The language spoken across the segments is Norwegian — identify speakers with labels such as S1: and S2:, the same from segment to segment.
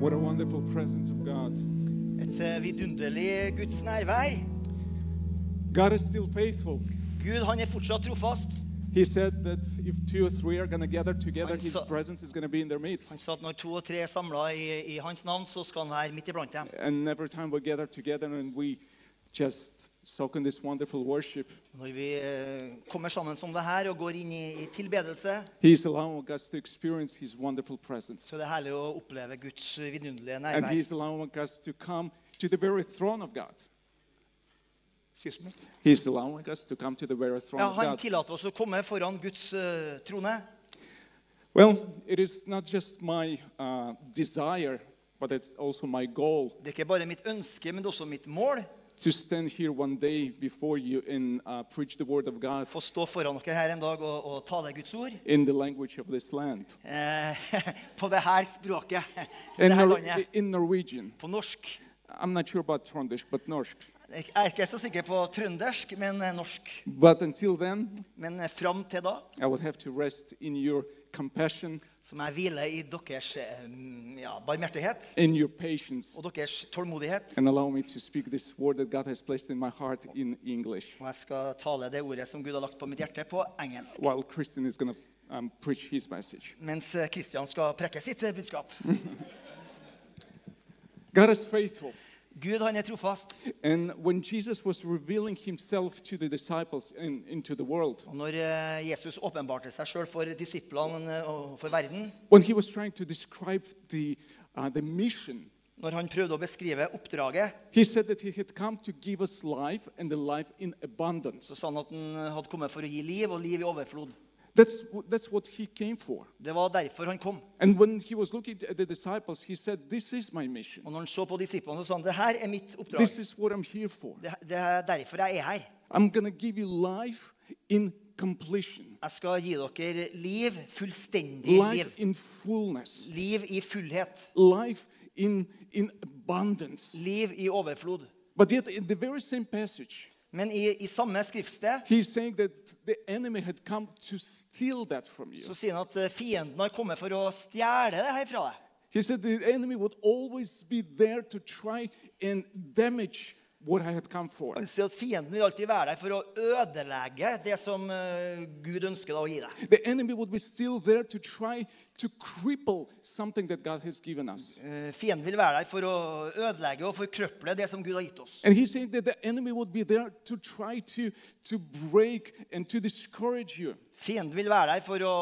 S1: What a wonderful presence of God.
S2: Et eh, vidunderlig Guds nærvær.
S1: God is still faithful.
S2: Gud han er fortsatt trofast.
S1: He said that if two or three are going to gather together,
S2: And
S1: His
S2: so-
S1: presence is going to be in their midst.
S2: Han sa at når to og tre er samla i, i hans navn, så skal han være midt iblant dem.
S1: And every time we gather together and we just soak in this wonderful worship,
S2: Når vi eh, kommer sammen som det her og går inn i, i tilbedelse,
S1: He is allowing us to experience His wonderful presence.
S2: så er det herlig å oppleve Guds vidunderlige
S1: And
S2: nærvær.
S1: He is allowing us to come to the very throne of God.
S2: Excuse me.
S1: He is allowing us to come to the very throne
S2: Ja,
S1: of
S2: han
S1: God.
S2: tillater oss å komme foran Guds eh, trone.
S1: Well, it is not just my uh, desire, but it's also my goal
S2: Det er ikke bare mitt ønske, men det er også mitt mål
S1: to stand here one day before you and uh, preach the word of God
S2: få stå foran dere her en dag og, og tale Guds ord
S1: in the language of this land,
S2: eh, på det her språket, det
S1: in,
S2: her
S1: Nor-
S2: landet,
S1: in Norwegian.
S2: på norsk.
S1: I'm not sure about Trondish, but Norsk.
S2: Jeg er ikke så sikker på trøndersk, men eh, norsk.
S1: But until then,
S2: Men eh, fram til da
S1: I would have to rest in your compassion,
S2: så må jeg hvile i deres eh, mm, ja, barmhjertighet
S1: in your patience,
S2: og deres tålmodighet.
S1: and allow me to speak this word that God has placed in my heart in English,
S2: Og jeg skal tale det ordet som Gud har lagt på mitt hjerte, på engelsk.
S1: while Christian is going to um, preach his message.
S2: Mens eh, Kristian skal prekke sitt eh, budskap.
S1: God is faithful.
S2: Gud, han er trofast.
S1: And when Jesus was revealing himself to the disciples and into the world,
S2: Og når eh, Jesus åpenbarte seg sjøl for disiplene eh, og for verden,
S1: when he was trying to describe the, uh, the mission,
S2: når han prøvde å beskrive oppdraget,
S1: he said that he had come to give us life and the life in
S2: så
S1: abundance.
S2: sa han at han hadde kommet for å gi liv, og liv i overflod.
S1: That's, wh- that's what he came for.
S2: Det var derfor han kom.
S1: And when he was looking at the disciples, he said, This is my
S2: Og
S1: mission.
S2: når han så på disiplene, så sa han det her er mitt oppdrag.
S1: This is what I'm here for.
S2: Det, det er derfor jeg er her.
S1: I'm going to give you life in completion,
S2: Jeg skal gi dere liv, fullstendig
S1: life
S2: liv.
S1: in fullness,
S2: Liv i fullhet.
S1: life in, in abundance.
S2: Liv i overflod.
S1: But yet, in the very same passage,
S2: Men i, i samme skriftsted
S1: He's saying that the enemy had come to steal that from you.
S2: så sier han at eh, fienden har kommet for å stjele det her fra deg.
S1: He said the enemy would always be there to try and damage what I had come for.
S2: Han sier at fienden vil alltid være der for å ødelegge det som eh, Gud ønsker deg å gi deg.
S1: The enemy would be still there to try to cripple something that God has given us.
S2: Eh, Fienden vil være der for å ødelegge og forkrøple det som Gud har gitt oss.
S1: And he's saying that the enemy would be there to try to, to break and to discourage you.
S2: Fienden vil være der for å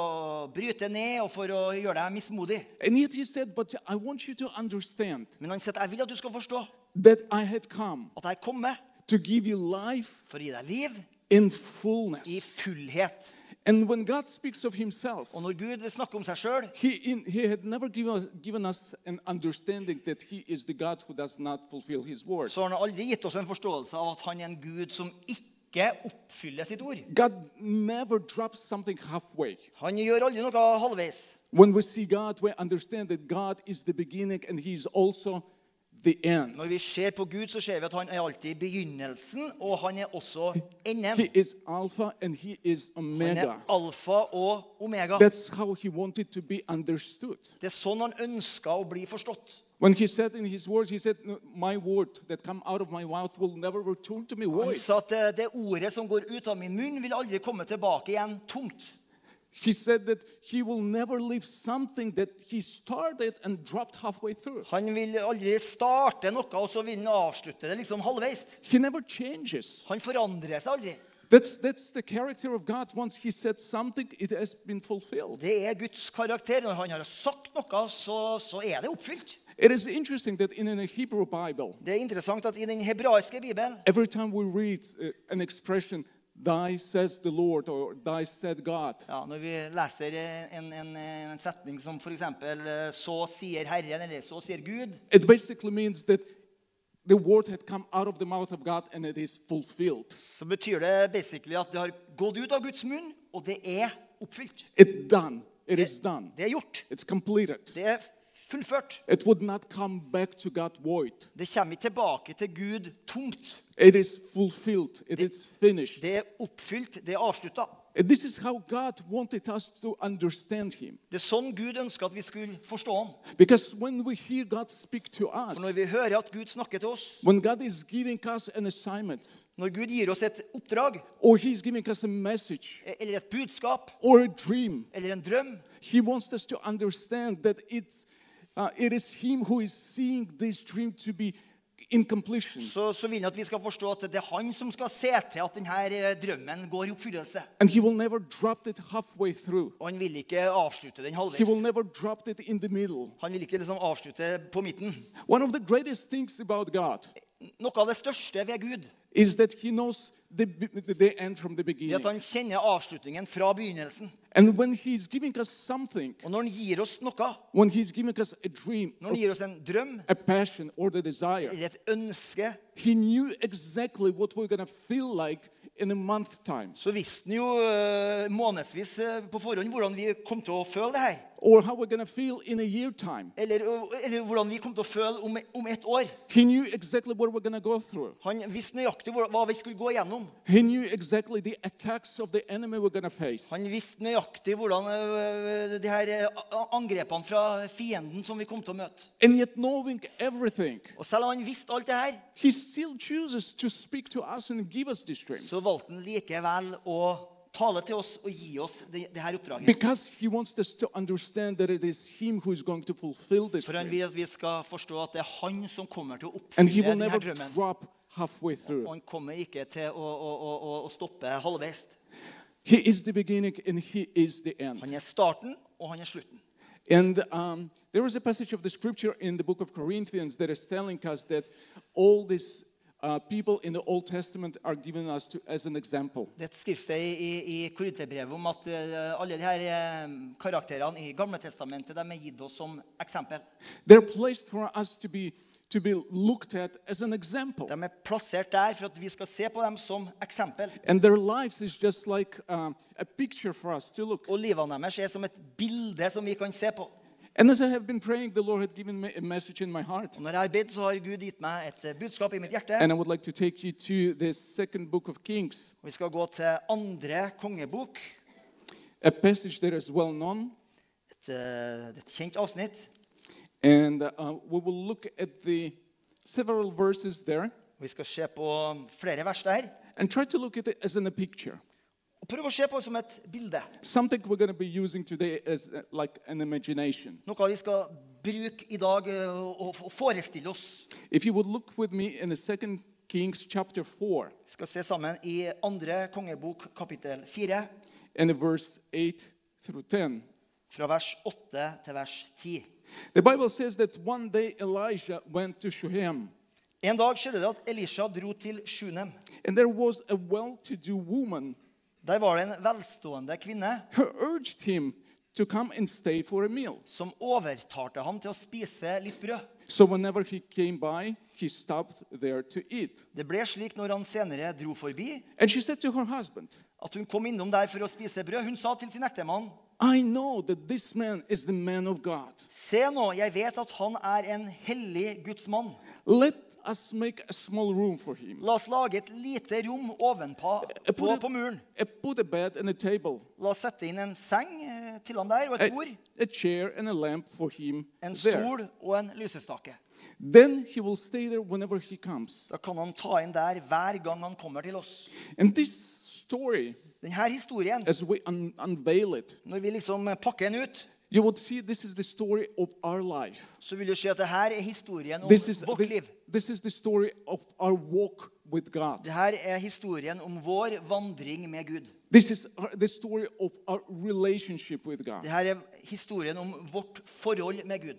S2: bryte ned og for å gjøre deg mismodig.
S1: And yet he said, But I want you to understand
S2: Men han sier at jeg vil at du skal forstå
S1: that I had come
S2: at jeg kommer
S1: to give you life
S2: for å gi deg liv
S1: in
S2: i
S1: fullness.
S2: fullhet.
S1: And when God speaks of himself,
S2: Og når Gud snakker om seg sjøl,
S1: He, in, he had never given us, given us an understanding that he is the God who does not fulfill his word.
S2: så har han aldri gitt oss en forståelse av at han er en gud som ikke oppfyller sitt ord.
S1: God never drops something halfway.
S2: Han gjør aldri noe halvveis.
S1: When we see God, we understand that God is the beginning and he is also the end.
S2: Når vi ser på Gud, så ser vi at han er alltid begynnelsen, og han er også enden.
S1: He is Alpha and he is
S2: Han er
S1: Omega.
S2: alfa og omega.
S1: That's how he wanted to be understood.
S2: Det er sånn han ønska å bli forstått.
S1: When he said in his word, he said, My word that come out of my mouth will never return to me
S2: Han
S1: void.
S2: sa at det, det ordet som går ut av min munn, vil aldri komme tilbake igjen tomt.
S1: He said that he will never leave something that he started and dropped halfway through.
S2: Han vil aldri starte noe, og så vil han avslutte det liksom halvveis.
S1: He never changes.
S2: Han forandrer seg aldri.
S1: That's, that's the character of God. Once He said something, it has been fulfilled.
S2: Det er Guds karakter. Når han har sagt noe, så, så er det oppfylt.
S1: It is interesting that in the Hebrew Bible,
S2: Det er interessant at i den hebraiske bibelen
S1: every time we read uh, an expression, Thy says the Lord or Thy said God,
S2: ja, Når vi leser eh, en, en, en setning som f.eks.: Så sier Herren, eller så sier Gud,
S1: it basically means that the word had come out of the mouth of God and it is fulfilled.
S2: så betyr det basically at det har gått ut av Guds munn, og det er oppfylt.
S1: It's done. It is done.
S2: Det er gjort.
S1: It's completed.
S2: Det er fullført.
S1: It would not come back to God void.
S2: Det kommer ikke tilbake til Gud tomt.
S1: It is fulfilled. It is finished.
S2: Det er oppfylt. Det er avslutta.
S1: And this is how God wanted us to understand Him.
S2: Det er sånn Gud ønsker at vi skulle forstå ham.
S1: Because when we hear God speak to us,
S2: For når vi hører at Gud snakker til oss,
S1: when God is giving us an assignment,
S2: når Gud gir oss et oppdrag
S1: or He's giving us a message,
S2: eller et budskap
S1: or a dream,
S2: eller en drøm,
S1: He wants us to understand that it's, uh, it is Him who is seeing this dream to be in completion.
S2: så, så vil han at vi skal forstå at det er han som skal se til at denne eh, drømmen går i oppfyllelse.
S1: And He will never drop it halfway through,
S2: Og han vil ikke avslutte den
S1: He will
S2: halvveis.
S1: never drop it in the middle.
S2: Han vil ikke liksom avslutte på midten.
S1: One of the greatest things about God
S2: Noe av det største ved Gud
S1: is that He knows the, be- the end from the
S2: er at
S1: beginning.
S2: han kjenner avslutningen fra begynnelsen.
S1: And when He's giving us something,
S2: Og når han gir oss noe,
S1: when He's giving us a dream,
S2: når han gir oss en drøm
S1: a passion, or the desire,
S2: eller et ønske,
S1: He knew exactly what we're going to feel like in a month time,
S2: så visste han jo eh, månedsvis eh, på forhånd hvordan vi kom til å føle det her.
S1: or how we're going to feel in a year time.
S2: Eller, eh, eller hvordan vi kom til å føle om, om ett år.
S1: He knew exactly what we're going to go through.
S2: Han visste nøyaktig hvor- hva vi skulle gå igjennom.
S1: He knew exactly the attacks of the enemy we're going to face.
S2: Han visste nøyaktig hvordan eh, de her eh, a- angrepene fra fienden som vi kom til å møte.
S1: And yet, knowing everything,
S2: Og selv om han visste alt det her,
S1: He still chooses to speak to us and give us these dreams.
S2: så valgte han likevel å tale til oss og gi oss det, det her oppdraget.
S1: Because he wants us to understand that it is him who is going to fulfill this
S2: For han
S1: dream.
S2: vil at vi skal forstå at det er han som kommer til å
S1: And he
S2: oppfylle
S1: will
S2: denne
S1: never
S2: drømmen.
S1: drop halfway
S2: Og
S1: through.
S2: han kommer ikke til å, å, å, å- å stoppe halvveis.
S1: He is the beginning and he is the
S2: Han
S1: end.
S2: er starten, og han er slutten.
S1: And um, there is a passage of the scripture in the book of Corinthians that is telling us that all these uh, people in the Old Testament are given us to, as an example.
S2: Det er et skriftsted i, i, i Korinterbrevet om at eh, alle de her eh, karakterene i Gamle Testamentet de er gitt oss som eksempel.
S1: They're placed for us to be, to be looked at as an example.
S2: De er plassert der for at vi skal se på dem som eksempel.
S1: And their lives is just like um, a picture for us to look.
S2: Og livene deres er som et bilde som vi kan se på.
S1: And as I have been praying, the Lord had given me a message in my heart.
S2: Og når jeg har bedt, så har Gud gitt meg et eh, budskap i mitt hjerte.
S1: And I would like to take you to the second book of Kings,
S2: Vi skal gå til andre kongebok,
S1: a passage that is well known.
S2: et, eh, et kjent avsnitt.
S1: And uh, we will look at the several verses there
S2: Vi skal se på flere vers der.
S1: and try to look at it as in a picture.
S2: Og prøve å se på det som et bilde.
S1: Something we're going to be using today as uh, like an imagination.
S2: Noe vi skal bruke i dag eh, og og forestille oss.
S1: If you would look with me in the second Kings chapter 4
S2: Vi skal se sammen i andre kongebok, kapittel 4,
S1: and the verse 8 through 10.
S2: fra vers 8 til vers 10.
S1: The Bible says that one day Elijah went to Shunem.
S2: En dag skjedde det at Elisha dro til Sjunem.
S1: And there was a well to do woman
S2: Der var det en velstående kvinne
S1: who urged him to come and stay for a meal.
S2: som overtalte ham til å spise litt brød.
S1: So whenever he came by, he stopped there to eat.
S2: Det ble slik når han senere dro forbi,
S1: And she said to her husband,
S2: at hun kom innom der for å spise brød. Hun sa til sin ektemann,
S1: I know that this man is the man of God.
S2: Se nå, jeg vet at han er en hellig Guds mann.
S1: Let us make a small room for him.
S2: La oss lage et lite rom ovenpå
S1: Uh,
S2: Eh, på,
S1: put,
S2: på muren.
S1: a, uh, put a bed and a table,
S2: La oss sette inn en seng eh, til han der, og
S1: a,
S2: et bord,
S1: a chair and a lamp for him
S2: en
S1: there.
S2: stol og en lysestake.
S1: Then he will stay there whenever he comes.
S2: Da kan han ta inn der hver gang han kommer til oss.
S1: And this story,
S2: Denne historien,
S1: as we un- unveil it,
S2: når vi liksom pakker den ut,
S1: you would see this is the story of our life.
S2: så vil du se at det her er historien om
S1: This is,
S2: vårt
S1: the,
S2: liv.
S1: this is the story of our walk with God.
S2: Det her er historien om vår vandring med Gud.
S1: This is our, the story of our relationship with God.
S2: Det her er historien om vårt forhold med Gud.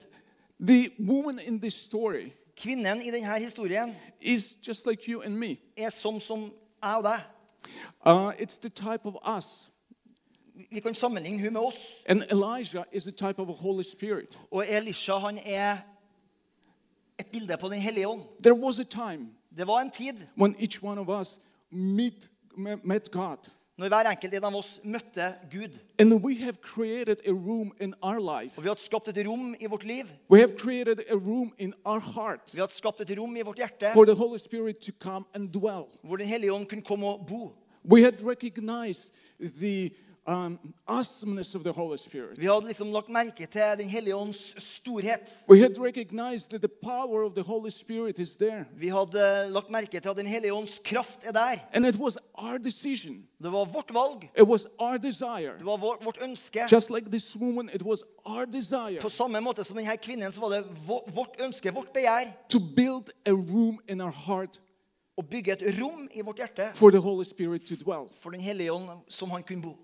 S1: The woman in this story
S2: Kvinnen i denne historien
S1: is just like you and me.
S2: er sånn som jeg og deg.
S1: Uh, it's the type of us.
S2: Vi kan sammenligne hun med oss.
S1: And Elijah is a type of a Holy Spirit.
S2: Og Elisha han er et bilde på Den hellige ånd.
S1: There was a time
S2: Det var en tid
S1: when each one of us meet, me- met God.
S2: når hver enkelt en av oss møtte Gud.
S1: And we have created a room in our life.
S2: Og vi hadde skapt et rom i vårt liv.
S1: We have created a room in our heart
S2: Vi hadde skapt et rom i vårt hjerte
S1: for the Holy Spirit to come and dwell.
S2: hvor Den hellige ånd kunne komme og bo.
S1: We had recognized the um, awesomeness of the Holy Spirit.
S2: Vi hadde liksom lagt merke til Den hellige ånds storhet.
S1: We had recognized that the power of the Holy Spirit is there.
S2: Vi hadde lagt merke til at Den hellige ånds kraft er der.
S1: And it was our decision,
S2: Det var vårt valg.
S1: it was our desire.
S2: Det var vår, vårt ønske.
S1: Just like this woman, it was our desire
S2: På samme måte som denne kvinnen så var det vå- vårt ønske, vårt begjær,
S1: to build a room in our heart
S2: å bygge et rom i vårt hjerte
S1: for the Holy Spirit to dwell.
S2: for Den hellige ånd som han kunne bo.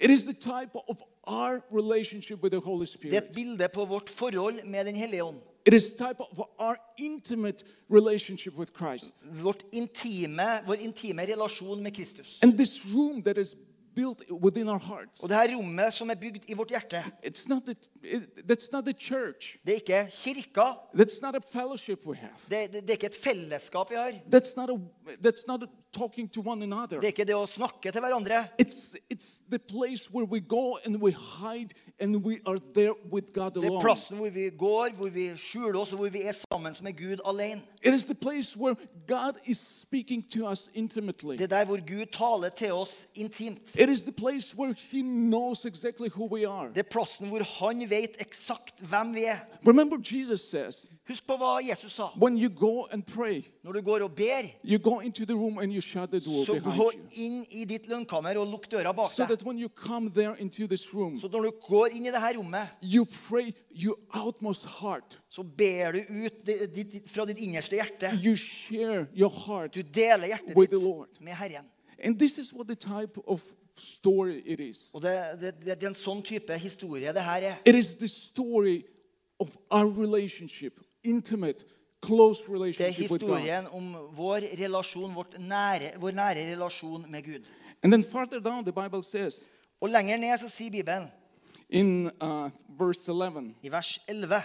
S1: It is the type of our relationship with the Holy
S2: Det er et
S1: Spirit.
S2: bilde på vårt forhold med Den hellige ånd.
S1: It is type of our intimate relationship with Christ.
S2: Vårt intime, vår intime relasjon med Kristus.
S1: And this room that is built within our hearts.
S2: Og det her rommet som er bygd i vårt hjerte,
S1: It's not the, it, that's not the church.
S2: det er ikke kirka.
S1: That's not a fellowship we have.
S2: Det, det, det er ikke et fellesskap vi har.
S1: That's not a that's not a talking to one another.
S2: Det er ikke det å snakke til hverandre.
S1: It's it's the place where we go and we hide and we are there with God
S2: Det er
S1: alone.
S2: plassen hvor vi går, hvor vi skjuler oss, og hvor vi er sammen med Gud alene.
S1: It is the place where God is speaking to us intimately.
S2: Det er der hvor Gud taler til oss intimt.
S1: It is the place where He knows exactly who we are.
S2: Det er plassen hvor han vet eksakt hvem vi er.
S1: Remember, Jesus says,
S2: Husk på hva Jesus sa.
S1: when you go and pray,
S2: Når du går og ber,
S1: you go into the room and you shut the door
S2: så
S1: behind
S2: gå
S1: you.
S2: inn i ditt lønnkammer og lukk døra bak
S1: So
S2: deg.
S1: that when you come there into this room,
S2: Så når du går inn i det her rommet,
S1: you pray your outmost heart.
S2: så ber du ut det- ditt, ditt- fra ditt innerste hjerte.
S1: You share your heart.
S2: Du deler hjertet
S1: With the Lord.
S2: ditt med Herren.
S1: And this is what the type of story it is.
S2: Og det, det, det, det er en sånn type historie det her er.
S1: It is the story of our relationship, intimate, close
S2: Det er
S1: relationship with God.
S2: historien om vår relasjon, vårt nære, vår nære relasjon med Gud.
S1: And then farther down, the Bible says
S2: Og lenger ned så sier Bibelen,
S1: in uh, verse 11,
S2: i vers 11,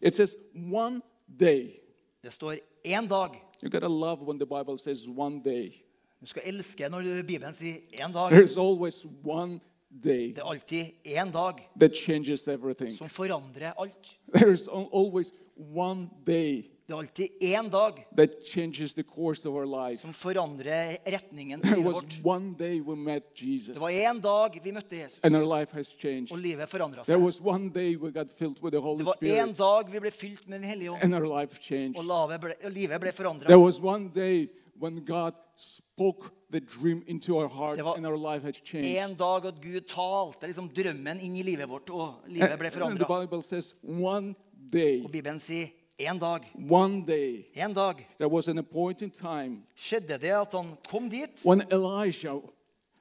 S1: it says, one day.
S2: det står én dag.
S1: You gotta love when the Bible says one day.
S2: Du skal elske når du- Bibelen sier én dag.
S1: There's always one day
S2: Det er alltid én dag
S1: that changes everything.
S2: som forandrer alt.
S1: There's al- always one day
S2: Det er alltid én dag
S1: that changes the course of our life.
S2: som forandrer retningen på
S1: There
S2: livet
S1: was
S2: vårt.
S1: one day we met Jesus
S2: Det var én dag vi møtte Jesus,
S1: and our life has changed.
S2: og livet forandra
S1: There
S2: seg.
S1: was one day we got filled with the Holy
S2: Det var én
S1: Spirit
S2: dag vi ble fylt med Den hellige ånd,
S1: and our life changed.
S2: og livet ble, og livet ble
S1: There
S2: forandra.
S1: was one day when God spoke the dream into our heart
S2: Det var
S1: and our life has
S2: En
S1: changed.
S2: dag at Gud talte liksom drømmen inn i livet vårt, og livet ble
S1: And the
S2: forandra.
S1: Bible says one day,
S2: Og Bibelen sier én dag.
S1: one day,
S2: En dag
S1: there was an appointed time
S2: skjedde det at han kom dit.
S1: when Elijah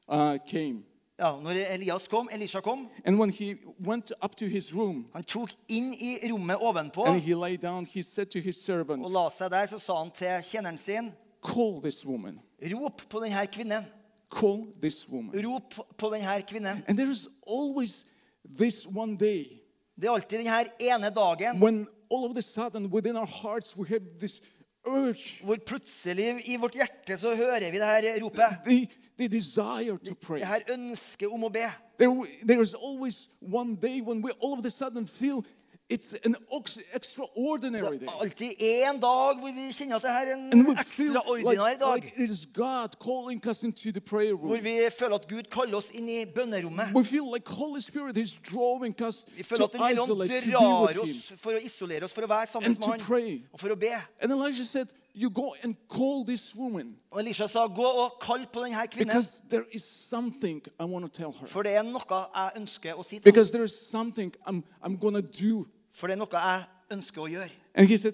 S1: uh, came.
S2: Ja, når Elias kom, Elisha kom,
S1: And when he went up to his room
S2: han tok inn i rommet ovenpå
S1: and he lay down, he said to his
S2: og
S1: servant,
S2: la seg der. Så sa han til tjeneren sin,
S1: Call this woman.
S2: rop på denne kvinnen.
S1: Call this woman.
S2: Rop på denne kvinnen.
S1: And there is always this one day
S2: Det er alltid denne ene dagen
S1: when all of a sudden within our hearts we have this urge,
S2: hvor plutselig i vårt hjerte så hører vi det her ropet.
S1: the, the desire to pray.
S2: Det her ønsket om å be.
S1: There, there is always one day when we all of a sudden feel it's an ox- extraordinary
S2: Det
S1: day.
S2: er alltid én dag hvor vi kjenner at det her er
S1: And we
S2: en
S1: feel like,
S2: ekstraordinær dag.
S1: like it is God calling us into the prayer
S2: Hvor
S1: room.
S2: vi føler at Gud kaller oss inn i bønnerommet.
S1: We feel like Holy Spirit is drawing us
S2: Vi føler
S1: to
S2: at Den hellige ånd
S1: isolate, to be
S2: drar
S1: with Him.
S2: oss for å isolere oss, for å være sammen
S1: And to
S2: med Han
S1: pray.
S2: og for å be.
S1: And Elijah said, you go and call this woman
S2: Og Elisha sa, 'Gå og kall på denne kvinnen',
S1: because there is something I want to tell her.
S2: for det er noe jeg ønsker å si til henne.
S1: Because there is something I'm, I'm going to do.
S2: For det er noe jeg ønsker å gjøre.
S1: And he said,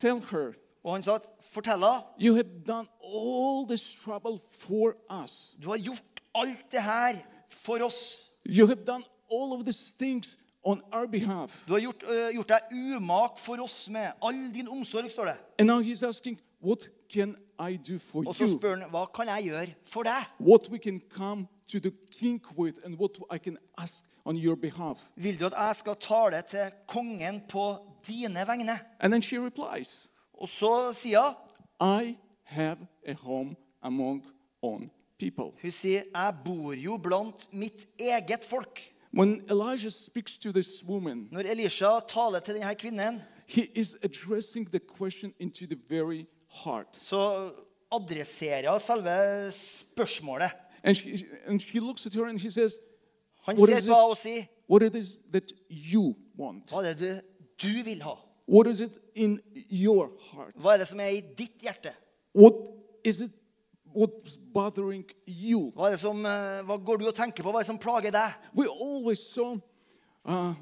S1: tell her,
S2: Og han sa, 'Fortell henne'.
S1: you have done all this trouble for us.
S2: Du har gjort alt det her for oss.
S1: You have done all of these things on our behalf.
S2: Du har gjort, øh, gjort deg umak for oss med all din omsorg, står det.
S1: And now he's asking, what can I do for
S2: Og så
S1: you?
S2: spør han hva kan jeg gjøre for deg.
S1: What we can come to the king with and what I can ask on your behalf.
S2: Vil du at jeg skal tale til kongen på dine vegne?
S1: And then she replies,
S2: Og så sier hun
S1: I have a home among own people.
S2: Hun sier, 'Jeg bor jo blant mitt eget folk'.
S1: When Elijah speaks to this woman,
S2: Når Elisha taler til denne kvinnen,
S1: he is addressing the question into the very heart.
S2: så adresserer hun selve spørsmålet.
S1: And she, and she looks at her and she says,
S2: Han
S1: What
S2: ser
S1: is it?
S2: på henne og sier,
S1: What it is that you want?
S2: hva er det du, du vil ha?
S1: What is it in your heart?
S2: Hva er det som er i ditt hjerte?
S1: What is it what's bothering you?
S2: Hva, er det som, eh, hva går du og tenker på? Hva er det som plager deg?
S1: We're always so uh,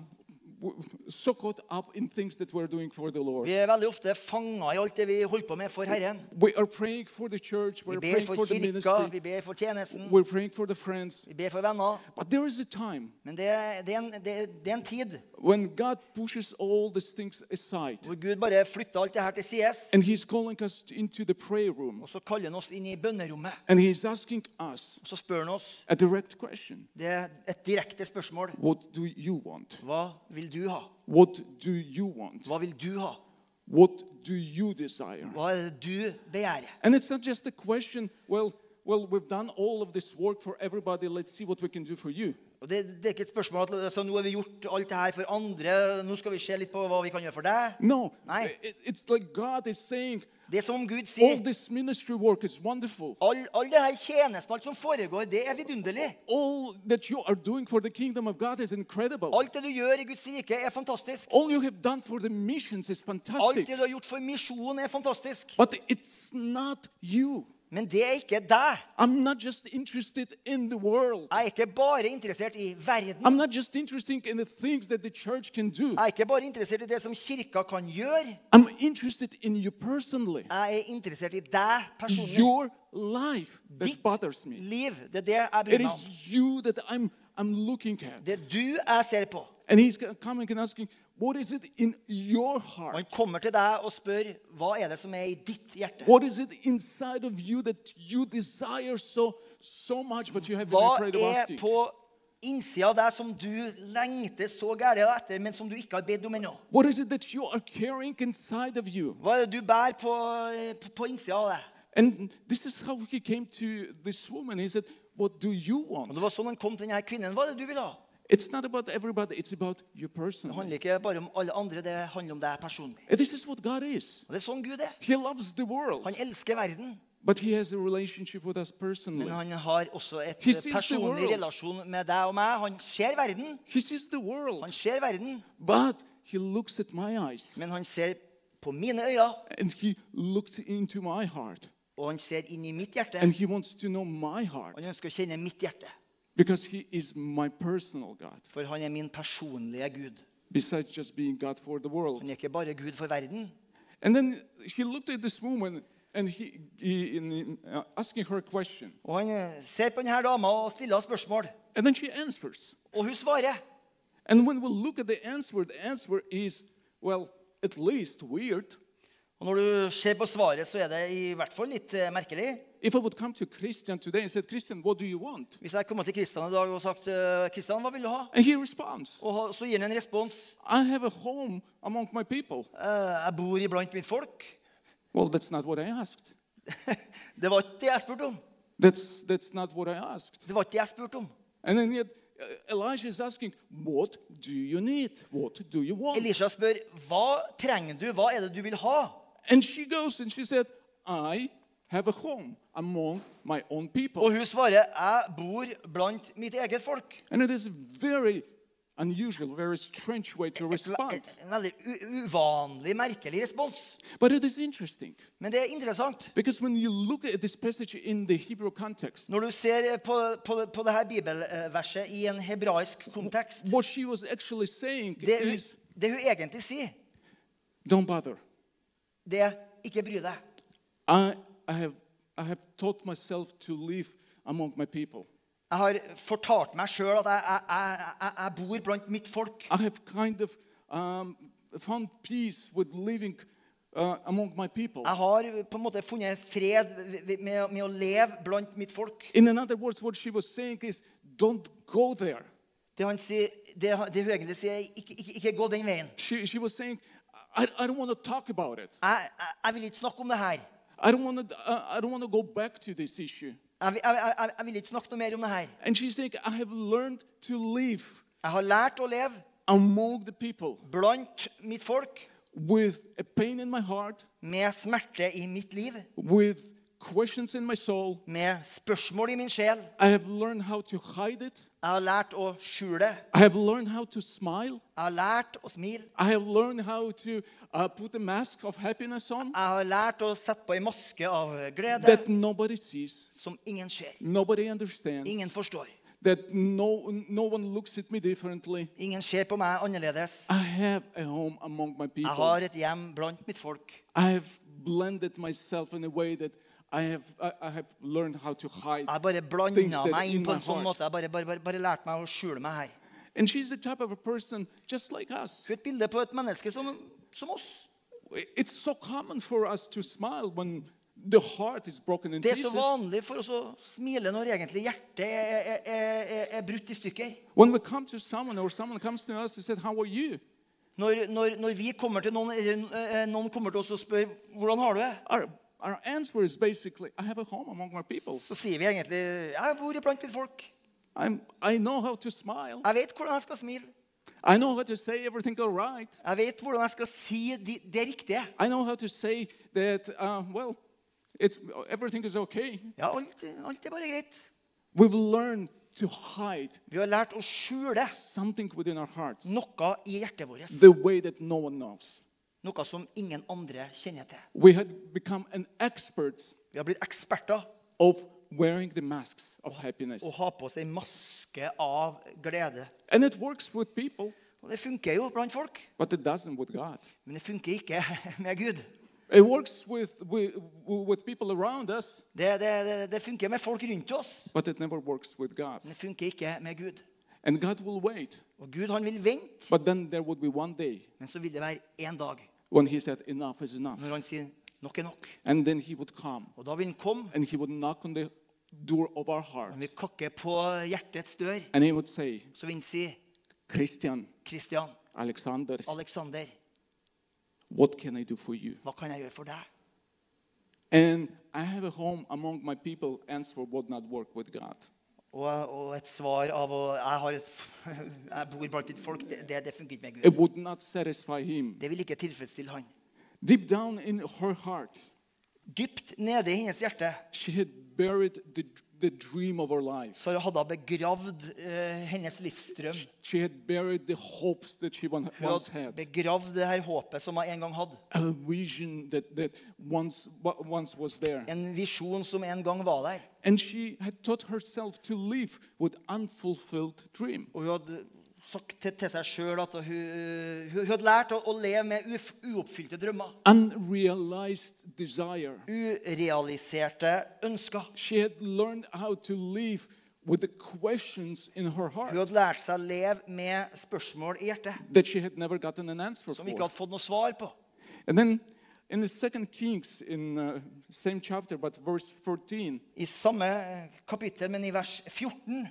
S1: w- so caught up in things that we're doing for the Lord.
S2: Vi er veldig ofte fanga i alt det vi holder på med for Herren.
S1: We are praying for the church,
S2: Vi
S1: we're
S2: ber
S1: praying
S2: for
S1: for the
S2: kirka, vi
S1: ministry,
S2: ber for tjenesten,
S1: we're praying for the friends.
S2: vi ber for venner.
S1: But there is a time
S2: Men det, det, er en, det, det er en tid
S1: when God pushes all these things aside
S2: hvor Gud bare flytter alt det her til sides.
S1: and He's calling us into the prayer room
S2: Og så kaller han oss inn i bønnerommet.
S1: and He's asking us
S2: Og så spør han oss
S1: a direct question
S2: det er et direkte spørsmål.
S1: What do you want?
S2: Hva vil du ha?
S1: What do you want?
S2: Hva vil du ha?
S1: What do you desire?
S2: Hva er det du begjærer?
S1: And it's not just a question, well, well, we've done all of this work for everybody, let's see what we can do for you.
S2: Og det, det er ikke et spørsmål at altså, nå har vi gjort alt det her for andre, nå skal vi se litt på hva vi kan gjøre for deg.
S1: No,
S2: Aye.
S1: it- it's like God is saying,
S2: Det er som Gud
S1: all
S2: sier.
S1: this ministry work is wonderful.
S2: All, all det her tjenesten, alt som foregår, det er vidunderlig.
S1: All that you are doing for the kingdom of God is incredible.
S2: Alt det du gjør i Guds rike, er fantastisk.
S1: All you have done for the missions is
S2: Alt
S1: fantastic.
S2: det du har gjort for misjonen, er fantastisk.
S1: But it's not you.
S2: Men det er ikke deg.
S1: I'm not just interested in the world.
S2: Jeg er ikke bare interessert i verden.
S1: I'm not just interested in the things that the church can do.
S2: Jeg er ikke bare interessert i det som kirka kan gjøre.
S1: I'm interested in you personally.
S2: Jeg er interessert i deg personlig.
S1: Your life that
S2: Ditt
S1: bothers me.
S2: liv. Det er det jeg bryr
S1: It
S2: meg
S1: is
S2: om.
S1: you that I'm, I'm looking
S2: Det
S1: at.
S2: er du jeg ser på.
S1: And he's coming and asking, What is it in your
S2: Og
S1: heart?
S2: han kommer til deg og spør hva er det som er i ditt hjerte.
S1: What is it inside of you that you desire so, so much, but you have been
S2: Hva
S1: afraid of
S2: er
S1: asking?
S2: på innsida av deg som du lengter så gærent etter, men som du ikke har bedt om ennå?
S1: What is it that you are carrying inside of you?
S2: Hva er det du bærer på, eh, på, på innsida av deg?
S1: And this is how he came to this woman. He said, What do you
S2: Og Det
S1: want?
S2: var sånn han kom til denne kvinnen. Hva er det du vil ha?
S1: It's not about everybody, it's about you
S2: Det
S1: personally.
S2: handler ikke bare om alle andre, det handler om deg personlig.
S1: And this is what God is.
S2: Og Det er sånn Gud er.
S1: He loves the world,
S2: Han elsker verden,
S1: but He has a relationship with us
S2: men
S1: personally.
S2: han har også et
S1: He sees the
S2: personlig
S1: world.
S2: relasjon med deg og meg. Han ser verden,
S1: He sees the world.
S2: han ser verden,
S1: But he looks at my eyes
S2: men han ser på mine øyne,
S1: and he looked into my heart
S2: og han ser inn i mitt hjerte.
S1: and he wants to know my heart
S2: Han ønsker å kjenne mitt hjerte,
S1: because he is my personal God
S2: for han er min personlige Gud.
S1: besides just being God for the world.
S2: Han er ikke bare Gud for verden.
S1: And then he looked at this woman and he, he in, uh, asking her a question
S2: Og han eh, ser på denne dama og stiller henne spørsmål.
S1: and then she answers.
S2: Og hun svarer.
S1: And when we look at the answer, the answer is well, at least weird.
S2: Og når du ser på svaret, så er det i hvert fall litt eh, merkelig.
S1: If I would come to Christian today and said, Christian, what do you want?
S2: Hvis jeg kommer til Kristian i dag og sagt eh, Kristian, hva vil du ha?
S1: And he responds,
S2: Og ha- så gir han en respons.
S1: I have a home among my people.
S2: Eh, Jeg bor iblant mitt folk.
S1: Well, that's not what I asked.
S2: Det var ikke det jeg spurte om.
S1: That's, that's not what I asked.
S2: Det var ikke det jeg spurte om.
S1: And then yet, uh, Elijah is asking, What do you need? What do you want?
S2: Elisha spør hva trenger du, hva er det du vil ha?
S1: And she goes and she said, I have a home among my own people.
S2: Og hun svarer jeg bor blant mitt eget folk.
S1: And it is a very unusual, very strange way to
S2: Et,
S1: respond.
S2: et, en veldig u uvanlig, merkelig respons.
S1: But it is interesting
S2: Men det er interessant.
S1: because when you look at this passage in the Hebrew context,
S2: Når du ser på, på, på det her bibelverset i en hebraisk kontekst
S1: what she was actually saying
S2: det hun,
S1: is,
S2: det hun egentlig sier,
S1: Don't bother.
S2: det er ikke bry deg.
S1: I, I, have, I have taught myself to live among my people.
S2: Jeg har fortalt meg sjøl at jeg, jeg, jeg, jeg, jeg bor blant mitt folk.
S1: I have kind of um, found peace with living uh, among my people.
S2: Jeg har eh, på en måte funnet fred ved- med, med å leve blant mitt folk.
S1: In another words, what she was saying is, don't go there.
S2: Det, han sier, det, han- det hun egentlig sier, er ikke, ikke, ikke gå den veien.
S1: She, she was saying, I, I don't want to talk about it.
S2: Jeg, jeg, jeg vil ikke snakke om det her.
S1: I don't want to. I I don't want to go back to this issue.
S2: Jeg, vil- jeg, jeg, jeg vil ikke snakke noe mer om det her.
S1: And she's saying, I have learned to live
S2: Jeg har lært å leve
S1: among the people
S2: blant mitt folk
S1: with a pain in my heart,
S2: med smerte i mitt liv.
S1: with questions in my soul.
S2: med spørsmål i min sjel.
S1: I have learned how to hide it.
S2: Jeg har lært å skjule.
S1: I have learned how to smile.
S2: Jeg har lært å smile.
S1: I have learned how to uh, put a mask of happiness on
S2: Jeg har lært å sette på ei maske av glede
S1: that nobody sees,
S2: som ingen ser,
S1: nobody understands,
S2: ingen forstår.
S1: that no, no one looks at me differently.
S2: Ingen ser på meg annerledes.
S1: I have a home among my people.
S2: Jeg har et hjem blant mitt folk.
S1: I have blended myself in a way that I have, I, I have learned how to hide.
S2: Jeg bare
S1: things
S2: blanda
S1: that
S2: meg inn
S1: in my
S2: på en sånn
S1: heart.
S2: måte. Jeg bare, bare, bare, bare lærte meg å skjule meg her.
S1: And she's the type of a person just like us.
S2: Hun er et bilde på et menneske som, som oss.
S1: It's so common for us to smile when the heart is broken in
S2: Det er så
S1: pieces.
S2: vanlig for oss å smile når egentlig hjertet er, er, er, er- er brutt i stykker.
S1: When we come to someone or someone comes to us and said, How are you?
S2: Når, når, når vi kommer til noen, eller eh, noen kommer til oss og spør hvordan har du det,
S1: Our, our answer is basically, I have a home among my people.
S2: så sier vi egentlig jeg bor blant mitt folk.
S1: I'm, I know how to smile.
S2: Jeg vet hvordan jeg skal smile.
S1: I know how to say everything all right.
S2: Jeg vet hvordan jeg skal si de, det riktige.
S1: I know how to say that, uh, well, it's, everything is okay.
S2: Ja, alt, alt er bare greit.
S1: We've learned to hide
S2: Vi har lært å skjule
S1: something within our hearts,
S2: noe i hjertet vårt.
S1: the way that no one knows.
S2: Noe som ingen andre kjenner til.
S1: We had become an expert
S2: Vi har blitt eksperter
S1: of wearing the masks of happiness.
S2: og har på oss en maske av glede.
S1: And it works with people,
S2: Og det funker jo blant folk,
S1: but it doesn't with God.
S2: men det funker ikke med Gud.
S1: It works with, with, with people around us,
S2: Det, det, det, det funker med folk rundt oss,
S1: but it never works with God.
S2: men det funker ikke med Gud.
S1: And God will wait.
S2: Og Gud han vil vente,
S1: But then there would be one day
S2: men så vil det være én dag
S1: when He said, Enough is enough.
S2: når han sier nok er nok.
S1: And then He would come
S2: Og da vil han komme,
S1: and He would knock on the door of our
S2: han vil
S1: hearts
S2: kakke på hjertets dør,
S1: and He would say,
S2: så vil han si
S1: Christian,
S2: Kristian,
S1: Alexander,
S2: Alexander,
S1: what can I do for you?
S2: hva kan jeg gjøre for deg?
S1: And I have a home among my people, answer would not work with God.
S2: Og, og et svar av å Jeg, har et, jeg bor blant ditt folk. Det, det, det funker ikke med Gud.
S1: It would not satisfy him.
S2: Det vil ikke tilfredsstille han.
S1: Deep down in her heart,
S2: Dypt nede i hennes hjerte
S1: she had buried the, the dream of her life.
S2: så hadde hun begravd eh, hennes livsdrøm.
S1: She had buried the hopes that she one-
S2: Hun
S1: once
S2: hadde
S1: had,
S2: begravd det her håpet som hun en gang hadde.
S1: a vision that, that once, wa- once was there.
S2: En visjon som en gang var der.
S1: And she had taught herself to live with unfulfilled dream.
S2: Og hun hadde sagt til, til seg sjøl at hun, hun, hun hadde lært å, å leve med uf, uoppfylte drømmer.
S1: Unrealized desire.
S2: Urealiserte ønsker.
S1: She had learned how to live with the questions in her
S2: Hun
S1: heart
S2: hadde lært seg å leve med spørsmål i hjertet
S1: that she had never gotten an answer
S2: som hun
S1: for.
S2: ikke hadde fått noe svar på.
S1: And then in the second Kings, in uh, same chapter, but verse 14,
S2: I samme eh, kapittel, men i vers 14,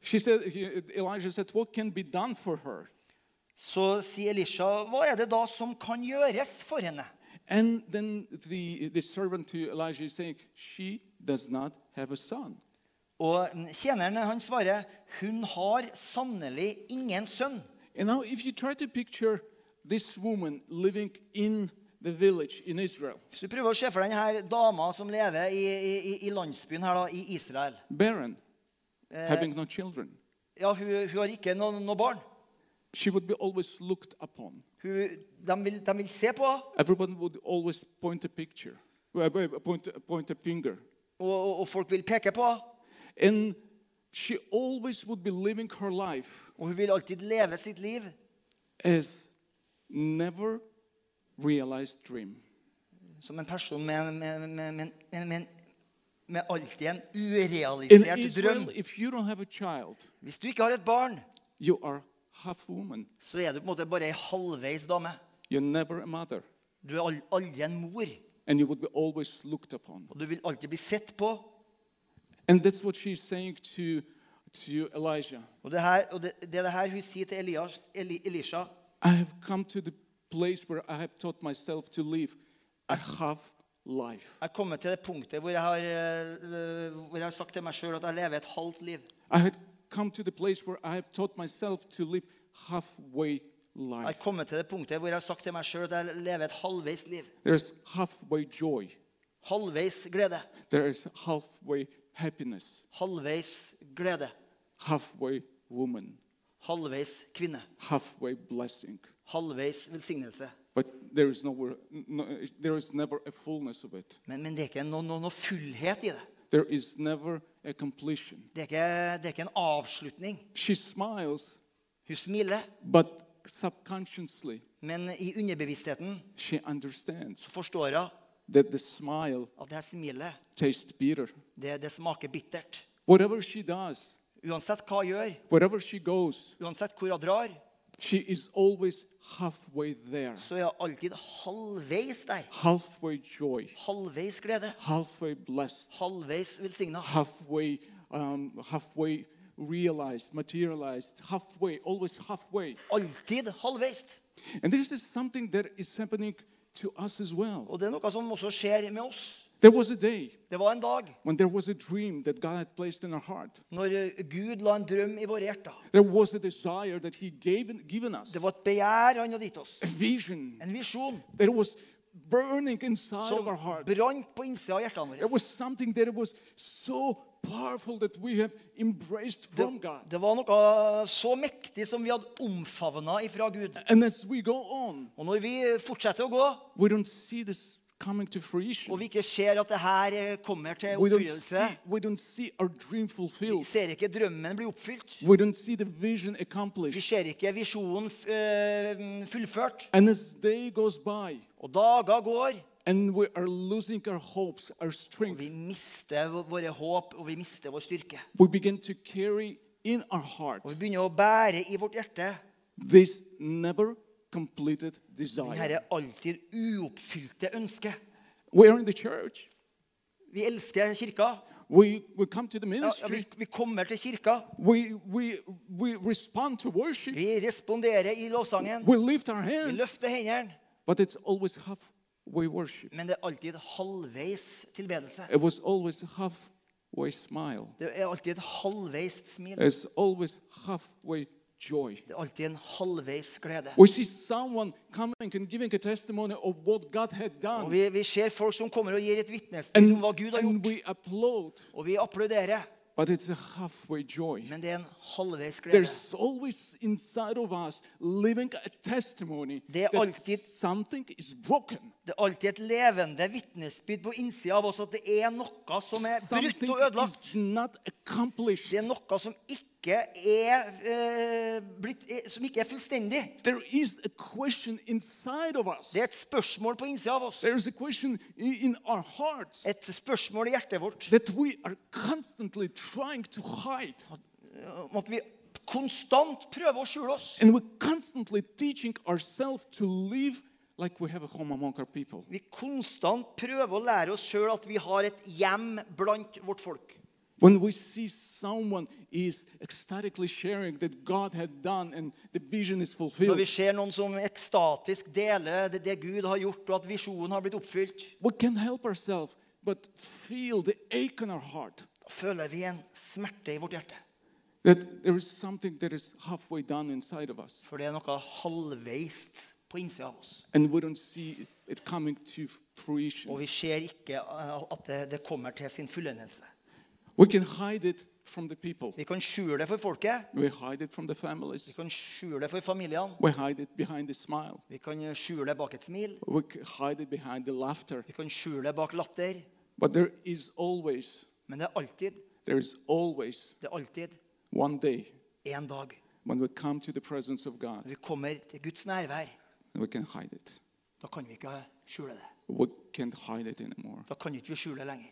S1: she said, he- Elijah said, what can be done for her?
S2: så sier Elisha, hva er det da som kan gjøres for henne?
S1: And then the, the servant to Elijah is saying, she does not have a son.
S2: Og tjeneren han svarer, hun har sannelig ingen sønn.
S1: And now if you try to picture this woman living in the village in Israel,
S2: Hvis du prøver å se for deg denne dama som lever i, i, i landsbyen her da, i Israel.
S1: barren, having no children,
S2: Ja, hun, hun har ikke noe, noe barn.
S1: she would be always looked upon.
S2: Hun, de, vil, de vil se på henne,
S1: Everyone would always point a picture, uh, uh, point, point a finger.
S2: og, og, og folk vil peke på henne.
S1: And she always would be living her life
S2: Og hun vil alltid leve sitt liv
S1: as never realized dream.
S2: som en person med, en- med, med, med, med, med, med alltid en
S1: In
S2: urealisert drøm.
S1: Israel, if you don't have a child,
S2: Hvis du ikke har et barn,
S1: you are half woman.
S2: så er du på en måte bare ei halvveis dame.
S1: You're never a mother.
S2: Du er al- aldri en mor,
S1: And you would be always looked upon.
S2: og du vil alltid bli sett på.
S1: And that's what she's saying to, to Elijah.
S2: Og det, her, og det, det er det her hun sier til Elias, Eli, Elisha.
S1: I have come to the place where I have taught myself to live. I have life.
S2: Jeg kommer til det punktet hvor jeg har, eh, hvor jeg har sagt til meg sjøl at jeg lever et halvt liv.
S1: I had come to the place where I have taught myself to live halfway
S2: Jeg har
S1: life.
S2: kommet til det punktet hvor jeg har sagt til meg sjøl at jeg lever et halvveis liv.
S1: There's halfway joy,
S2: Halvveis glede.
S1: There is halfway happiness,
S2: Halvveis glede.
S1: halfway woman,
S2: Halvveis kvinne.
S1: halfway blessing.
S2: Halvveis velsignelse.
S1: But there is, nowhere, no, there is never a fullness of it.
S2: Men, men det er ikke noe, noe, noe fullhet i det.
S1: There is never a completion.
S2: Det er, ikke, det er ikke en avslutning.
S1: She smiles,
S2: Hun smiler,
S1: but subconsciously
S2: men i underbevisstheten
S1: she understands
S2: så forstår hun
S1: that the smile
S2: at det her smilet,
S1: tastes bitter.
S2: det, det smaker bittert.
S1: Whatever she does,
S2: Uansett hva hun gjør,
S1: wherever she goes,
S2: uansett hvor hun drar,
S1: she is always halfway there,
S2: så er hun alltid halvveis der.
S1: halfway joy,
S2: Halvveis glede.
S1: halfway blessed,
S2: Halvveis velsigna.
S1: halfway, um, halfway realized, materialized, halfway, always halfway.
S2: Alltid halvveis.
S1: And there is something that is happening to us as well.
S2: Og det er noe som også skjer med oss.
S1: There was a day
S2: Det var en dag
S1: when there was a dream that God had placed in our heart.
S2: når eh, Gud la en drøm i våre hjerter.
S1: There was a desire that He gave given us,
S2: Det var et begjær han hadde gitt oss.
S1: a vision
S2: En visjon
S1: that was burning inside
S2: som
S1: of our heart.
S2: brant på innsida av hjertene
S1: It
S2: våre.
S1: was something that was so powerful that we have embraced
S2: Det,
S1: from God.
S2: det var noe så mektig som vi hadde omfavna ifra Gud.
S1: And as we go on,
S2: Og når vi fortsetter å gå,
S1: we don't see this coming to
S2: og
S1: fruition.
S2: vi ikke ser at det her eh, kommer til
S1: We don't see,
S2: oppfyllelse
S1: we don't see our dream
S2: Vi
S1: fulfilled.
S2: ser ikke drømmen bli oppfylt.
S1: We don't see the vision
S2: Vi
S1: accomplished.
S2: ser ikke visjonen f- eh, fullført.
S1: And as day goes by,
S2: Og dager går,
S1: and we are losing our hopes, our
S2: og vi
S1: strength,
S2: mister v- våre håp, og vi mister vår styrke.
S1: we begin to carry in our heart
S2: Og vi begynner å bære i vårt hjerte
S1: this never completed desire.
S2: dette alltid uoppfylte ønsket.
S1: We are in the church.
S2: Vi elsker kirka.
S1: We, we come to the
S2: Ja, ja, vi,
S1: ministry.
S2: vi kommer til kirka.
S1: We, we, we respond to worship.
S2: Vi responderer i lovsangen.
S1: We lift our
S2: Vi
S1: hands.
S2: løfter hendene.
S1: But it's always halfway worship.
S2: Men det er alltid halvveis tilbedelse.
S1: It was always halfway smile.
S2: Det er alltid et halvveis smil.
S1: It's always halfway joy.
S2: Det er alltid en halvveis glede.
S1: We see someone coming and giving a testimony of what God had
S2: Og
S1: done.
S2: vi, vi ser folk som kommer og gir et vitnesbyrd
S1: And,
S2: om hva Gud har
S1: and
S2: gjort.
S1: we applaud.
S2: Og vi applauderer.
S1: But it's a halfway joy.
S2: Men det er en halvveis glede.
S1: There's always inside of us living a testimony
S2: Det er
S1: that
S2: alltid-
S1: something is broken.
S2: Det er alltid et levende vitnesbyrd på innsida av oss at det er noe som er brutt
S1: Something
S2: og ødelagt.
S1: is not accomplished.
S2: Det er noe som ikke er, eh, blitt, eh, som ikke er fullstendig.
S1: There is a question inside of us.
S2: Det er et spørsmål på innsida av oss.
S1: There is a question i- in our hearts
S2: Et spørsmål i hjertet vårt
S1: that we are constantly trying to hide.
S2: eh, om at vi konstant prøver å skjule oss.
S1: And we're constantly teaching ourselves to live like we have a home among our people.
S2: Vi konstant prøver å lære oss sjøl at vi har et hjem blant vårt folk.
S1: When we see someone is ecstatically sharing that God had done and the vision is
S2: Når
S1: fulfilled,
S2: vi ser noen som ekstatisk deler det, det Gud har gjort, og at visjonen har blitt oppfylt,
S1: we can help ourselves but feel the ache in our heart
S2: da føler vi en smerte i vårt hjerte.
S1: that there is something that is halfway done inside of us
S2: For det er noe halvveist på innsida av oss.
S1: and we don't see it coming to
S2: Og
S1: fruition.
S2: vi ser ikke eh, at det, det kommer til sin fullendelse.
S1: We can hide it from the people,
S2: Vi kan skjule det for folket,
S1: we hide it from the
S2: vi
S1: families,
S2: kan skjule det for familiene,
S1: we hide it behind the smile,
S2: vi kan skjule det bak et smil,
S1: we c- hide it behind the laughter.
S2: vi kan skjule det bak latter.
S1: But there is always,
S2: Men det er alltid,
S1: there is always
S2: det er alltid
S1: one day
S2: én dag
S1: when we come to the presence of God
S2: når vi kommer til Guds nærvær.
S1: and we can hide it.
S2: Da kan vi ikke skjule det.
S1: We can't hide it anymore.
S2: Da kan ikke vi skjule det lenger.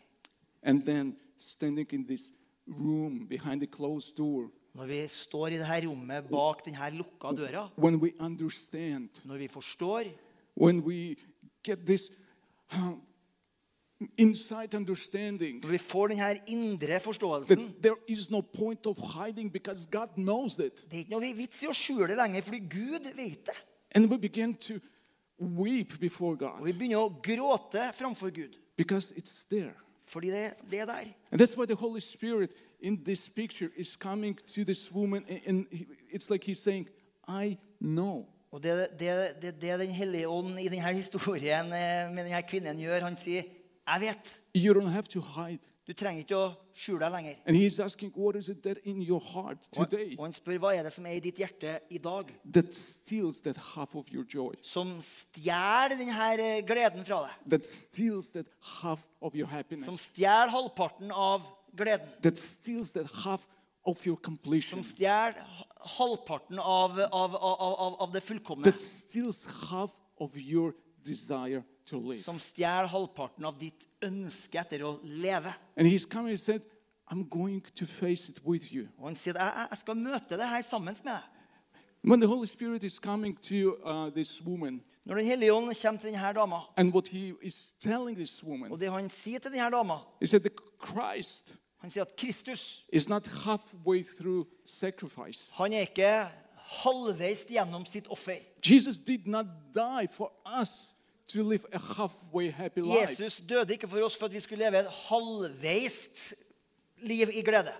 S1: And then standing in this room behind the closed door,
S2: Når vi står i dette rommet bak denne lukka døra,
S1: when we understand,
S2: når vi forstår,
S1: when we get this um, inside understanding
S2: når vi får denne indre forståelsen
S1: that there is no point of hiding because God knows it,
S2: Det er ikke noe vits i å skjule det lenger, fordi Gud vet det.
S1: and we begin to weep before
S2: Og vi
S1: God
S2: begynner å gråte framfor Gud,
S1: because it's there.
S2: fordi det, det er der.
S1: And that's why the Holy Spirit in this picture is coming to this woman, and- and he- it's like he's saying, I know.
S2: Og det, det, det, det Den hellige ånd i denne historien eh, med denne kvinnen gjør, han sier, 'Jeg vet'.
S1: You don't have to hide.
S2: Du trenger ikke å skjule deg lenger.
S1: And he's asking, What is it that in your heart
S2: Og,
S1: today
S2: og han spør hva er det som er i ditt hjerte i dag,
S1: that steals that half of your joy,
S2: som stjeler denne eh, gleden fra deg?
S1: that steals that half of your
S2: Som
S1: happiness,
S2: stjeler halvparten av gleden?
S1: that steals that half of your
S2: Som
S1: completion,
S2: stjeler halvparten av, av, av, av, av det fullkomne?
S1: that steals half of your desire to live?
S2: Som stjeler halvparten av ditt ønske etter å leve?
S1: And he's coming and said, I'm going to face it with you.
S2: Og han sier at jeg, jeg- jeg skal møte det her sammen med deg.
S1: When the Holy Spirit is coming to uh, this woman,
S2: Når Den hellige ånd kommer til denne dama,
S1: and what he is telling this
S2: og
S1: woman
S2: det han sier til denne dama
S1: is that the Christ
S2: Han sier at Kristus
S1: is not halfway through sacrifice.
S2: han er ikke halvveis gjennom sitt offer.
S1: Jesus did not die for us to live a halfway happy life.
S2: Jesus døde ikke for oss for at vi skulle leve et halvveist liv i glede.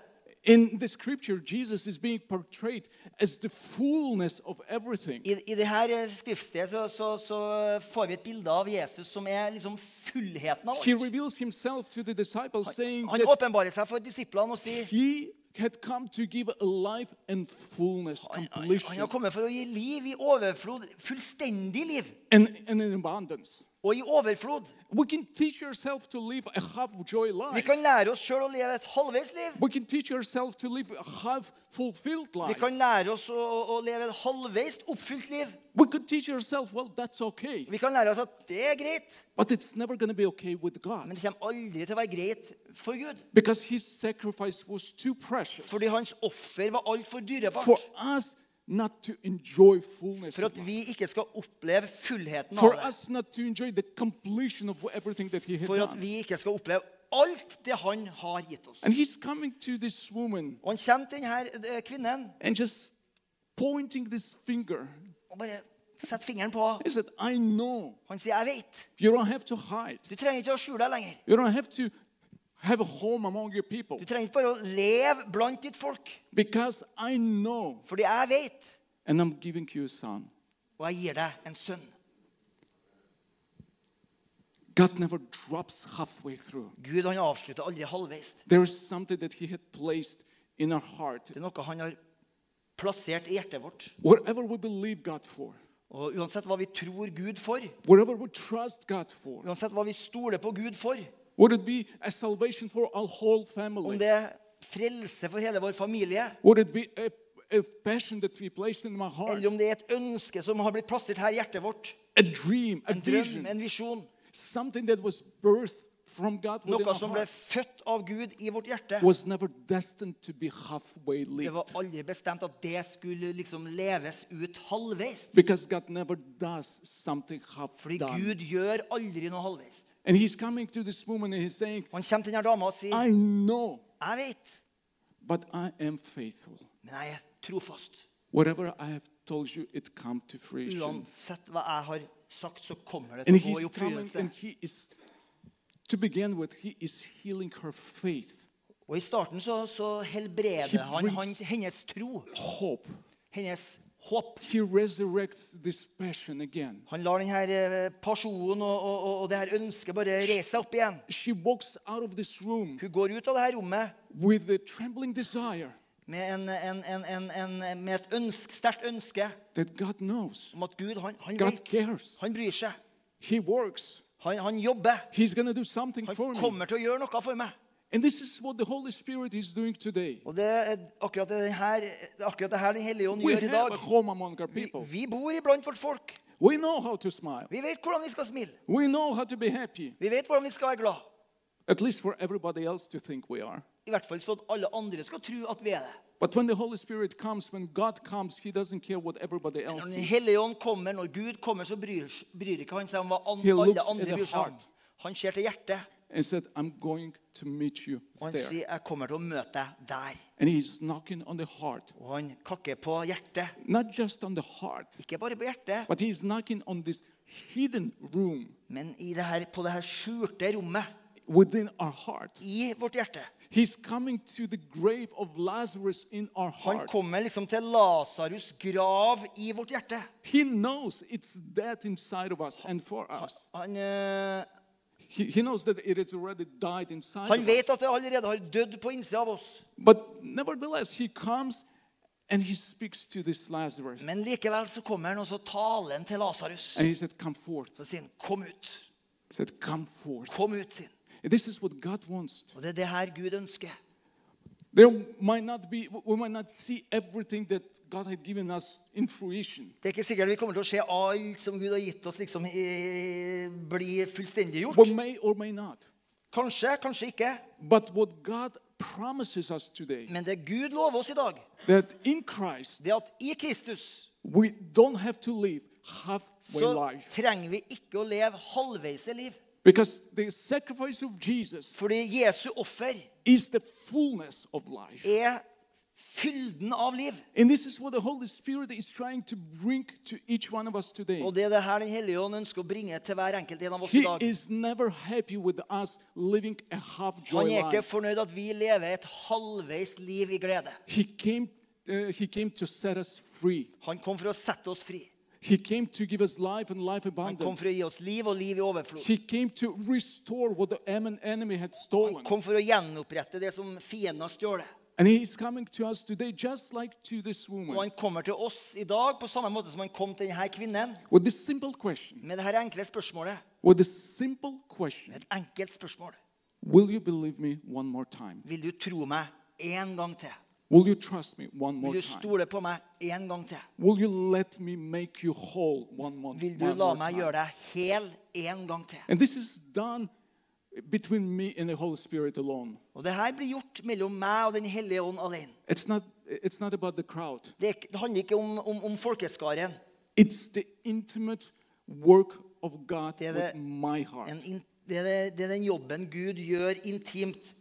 S1: In the scripture, Jesus is being portrayed as the fullness of everything.
S2: I, i det her eh, skriftstedet så, så, så får vi et bilde av Jesus som er liksom fullheten av
S1: He
S2: alt.
S1: reveals himself to the disciples, saying
S2: Han
S1: that
S2: åpenbarer seg for disiplene og sier
S1: he had come to give a life and fullness,
S2: han, han han
S1: completion,
S2: har kommet for å gi liv i overflod. Fullstendig liv.
S1: and, and an abundance.
S2: Og i overflod.
S1: We can teach ourselves to live a half joy
S2: Vi
S1: life.
S2: kan lære oss sjøl å leve et halvveis liv.
S1: We can teach ourselves to live a half fulfilled
S2: Vi
S1: life.
S2: kan lære oss å, å, å leve et halvveis oppfylt liv.
S1: We could teach ourselves, well, that's okay.
S2: Vi kan lære oss at det er greit,
S1: But it's never going to be okay with God.
S2: men det kommer aldri til å være greit for Gud.
S1: Because his sacrifice was too precious
S2: Fordi hans offer var altfor
S1: for
S2: dyrebart.
S1: us not to enjoy fullness,
S2: For
S1: of
S2: at
S1: life.
S2: vi ikke skal oppleve fullheten
S1: for
S2: av det.
S1: us not to enjoy the completion of everything that he had
S2: For at
S1: done.
S2: vi ikke skal oppleve alt det han har gitt oss.
S1: And he's coming to this woman
S2: Og han kommer til denne eh, kvinnen
S1: and just pointing this finger.
S2: og bare setter fingeren på
S1: He said, I know.
S2: Han sier, 'Jeg vet.
S1: You don't have to hide.
S2: Du trenger ikke å skjule deg lenger.
S1: You don't have to have a home among your people.
S2: Du trenger ikke bare å leve blant ditt folk.
S1: Because I know.
S2: Fordi jeg vet,
S1: And I'm giving you a son.
S2: og jeg gir deg en sønn.
S1: God never drops halfway through.
S2: Gud han avslutter aldri halvveis.
S1: There is something that He had placed in our heart.
S2: Det er noe han har plassert i hjertet vårt.
S1: Whatever we believe God for,
S2: Og uansett hva vi tror Gud for,
S1: whatever we trust God for,
S2: uansett hva vi stoler på Gud for,
S1: would it be a salvation for our whole
S2: om
S1: family?
S2: det er frelse for hele vår familie,
S1: Would it be a, a passion that we placed in my heart?
S2: eller om det er et ønske som har blitt plassert her i hjertet vårt,
S1: A dream, a
S2: en drøm,
S1: vision,
S2: en visjon,
S1: something that was birthed from God within
S2: noe
S1: our
S2: som ble
S1: heart
S2: født av Gud i vårt hjerte.
S1: was never destined to be halfway
S2: Det var
S1: lived.
S2: aldri bestemt at det skulle liksom leves ut halvveis.
S1: Because God never does something half
S2: Fordi
S1: done.
S2: Gud gjør aldri noe halvveis.
S1: And He's coming to this woman and He's saying,
S2: Han kommer til denne dama og sier,
S1: I know,
S2: 'Jeg vet,
S1: but I am faithful.
S2: men jeg er trofast.'
S1: Whatever I have told you, it come to fruition.
S2: Uansett hva jeg har sagt, så kommer det
S1: And
S2: til å gå i
S1: he's coming,
S2: oppfyllelse.
S1: and he is, to begin with, he is healing her faith,
S2: Og I starten så, så
S1: He
S2: helbreder han, han
S1: brings-
S2: hennes tro,
S1: hope.
S2: hennes håp.
S1: He resurrects this passion again.
S2: Han lar denne personen og, og, og- og det her ønsket bare reise seg opp igjen.
S1: She walks out of this room
S2: Hun går ut av det her rommet
S1: with a trembling desire
S2: med, en, en, en, en, en, med et ønske, sterkt ønske
S1: that God knows.
S2: om at Gud, han, han
S1: God
S2: vet.
S1: cares.
S2: Han bryr seg.
S1: He works.
S2: Han, han jobber.
S1: He's going to do something
S2: Han
S1: for me.
S2: kommer til å gjøre noe for meg.
S1: And this is what the Holy Spirit is doing today.
S2: Og det er akkurat det her, det er akkurat det her Den hellige ånd
S1: We
S2: gjør i
S1: have
S2: dag.
S1: a home among our
S2: Vi,
S1: people.
S2: vi bor iblant vårt folk.
S1: We know how to smile.
S2: Vi vet hvordan vi skal smile.
S1: We know how to be happy.
S2: Vi vet hvordan vi skal være glad.
S1: At least for everybody else to think we are.
S2: I hvert fall så at alle andre skal tro at vi er det.
S1: But when the Holy Spirit comes, when God comes, He doesn't care what everybody
S2: Når
S1: else
S2: Den
S1: is.
S2: hellige ånd kommer, når Gud kommer, så bryr, bryr ikke han seg om hva an,
S1: He looks at
S2: alle
S1: the
S2: andre bryr seg om.
S1: heart.
S2: Han ser til hjertet,
S1: And said, I'm going to meet you
S2: og han
S1: there.
S2: sier, 'Jeg kommer til å møte deg der'.
S1: And He's knocking on the heart.
S2: Og han kakker på hjertet.
S1: Not just on the heart,
S2: Ikke bare på hjertet,
S1: but He's knocking on this hidden room
S2: men i det her, på det her skjulte rommet
S1: within our heart.
S2: i vårt hjerte.
S1: He's coming to the grave of Lazarus in our
S2: Han
S1: heart.
S2: kommer liksom til Lasarus' grav i vårt hjerte.
S1: He knows it's dead inside of us and for us.
S2: Han, eh,
S1: He, he knows that it has already died inside
S2: Han
S1: of us.
S2: vet at det allerede har dødd på innsida av oss.
S1: But nevertheless, he comes and he speaks to this Lazarus.
S2: Men likevel så kommer han, og så taler han til Lasarus.
S1: And he said, Come forth.
S2: Så sier han, 'Kom ut.
S1: He said, Come forth.
S2: Kom ut', sier han.
S1: And This is what God wants.
S2: Og det er det her Gud ønsker.
S1: There might not be, we might not see everything that God had given us in fruition.
S2: Det er ikke sikkert vi kommer til å se alt som Gud har gitt oss, liksom eh, bli fullstendig
S1: We
S2: gjort.
S1: may or may not.
S2: Kanskje, kanskje ikke.
S1: But what God promises us today,
S2: Men det Gud lover oss i dag,
S1: that in Christ,
S2: det er at i Kristus
S1: we don't have to live halfway
S2: så
S1: life.
S2: trenger vi ikke å leve halvveise liv.
S1: Because the sacrifice of Jesus
S2: Fordi Jesu offer
S1: is the fullness of life.
S2: er fylden av liv.
S1: And this is what the Holy Spirit is trying to bring to each one of us today.
S2: Og det er det her Den hellige ånd ønsker å bringe til hver enkelt en av oss i
S1: He
S2: dag.
S1: is never happy with us living a half joy
S2: Han er ikke
S1: life.
S2: fornøyd at vi lever et halvveis liv i glede.
S1: He came, uh, he came to set us free.
S2: Han kom for å sette oss fri.
S1: He came to give us life and life
S2: Han kom
S1: abundant.
S2: for å gi oss liv og liv i overflod.
S1: He came to restore what the em- enemy had
S2: Han
S1: stolen.
S2: kom for å gjenopprette det som fienden har stjålet.
S1: And he is coming to us today, just like to this
S2: Og
S1: woman,
S2: han kommer til oss i dag på samme måte som han kom til denne kvinnen.
S1: with this simple question.
S2: Med dette enkle spørsmålet.
S1: With this simple question,
S2: Et enkelt spørsmål.
S1: will you believe me one more time?
S2: Vil du tro meg en gang til?
S1: Will you trust me one more
S2: Vil du
S1: time?
S2: stole på meg en gang til?
S1: Will you let me make you whole one more,
S2: Vil du
S1: one
S2: la
S1: more
S2: meg
S1: time?
S2: gjøre deg hel en gang til?
S1: And this is done between me and the Holy Spirit alone.
S2: Og det her blir gjort mellom meg og Den hellige ånd alene.
S1: It's not, it's not about the crowd,
S2: Det, er ikke- det handler ikke om, om, om folkeskaren.
S1: it's the intimate work of God
S2: Det er
S1: with
S2: det-
S1: my heart.
S2: En, in- det, er, det- det er den jobben Gud gjør intimt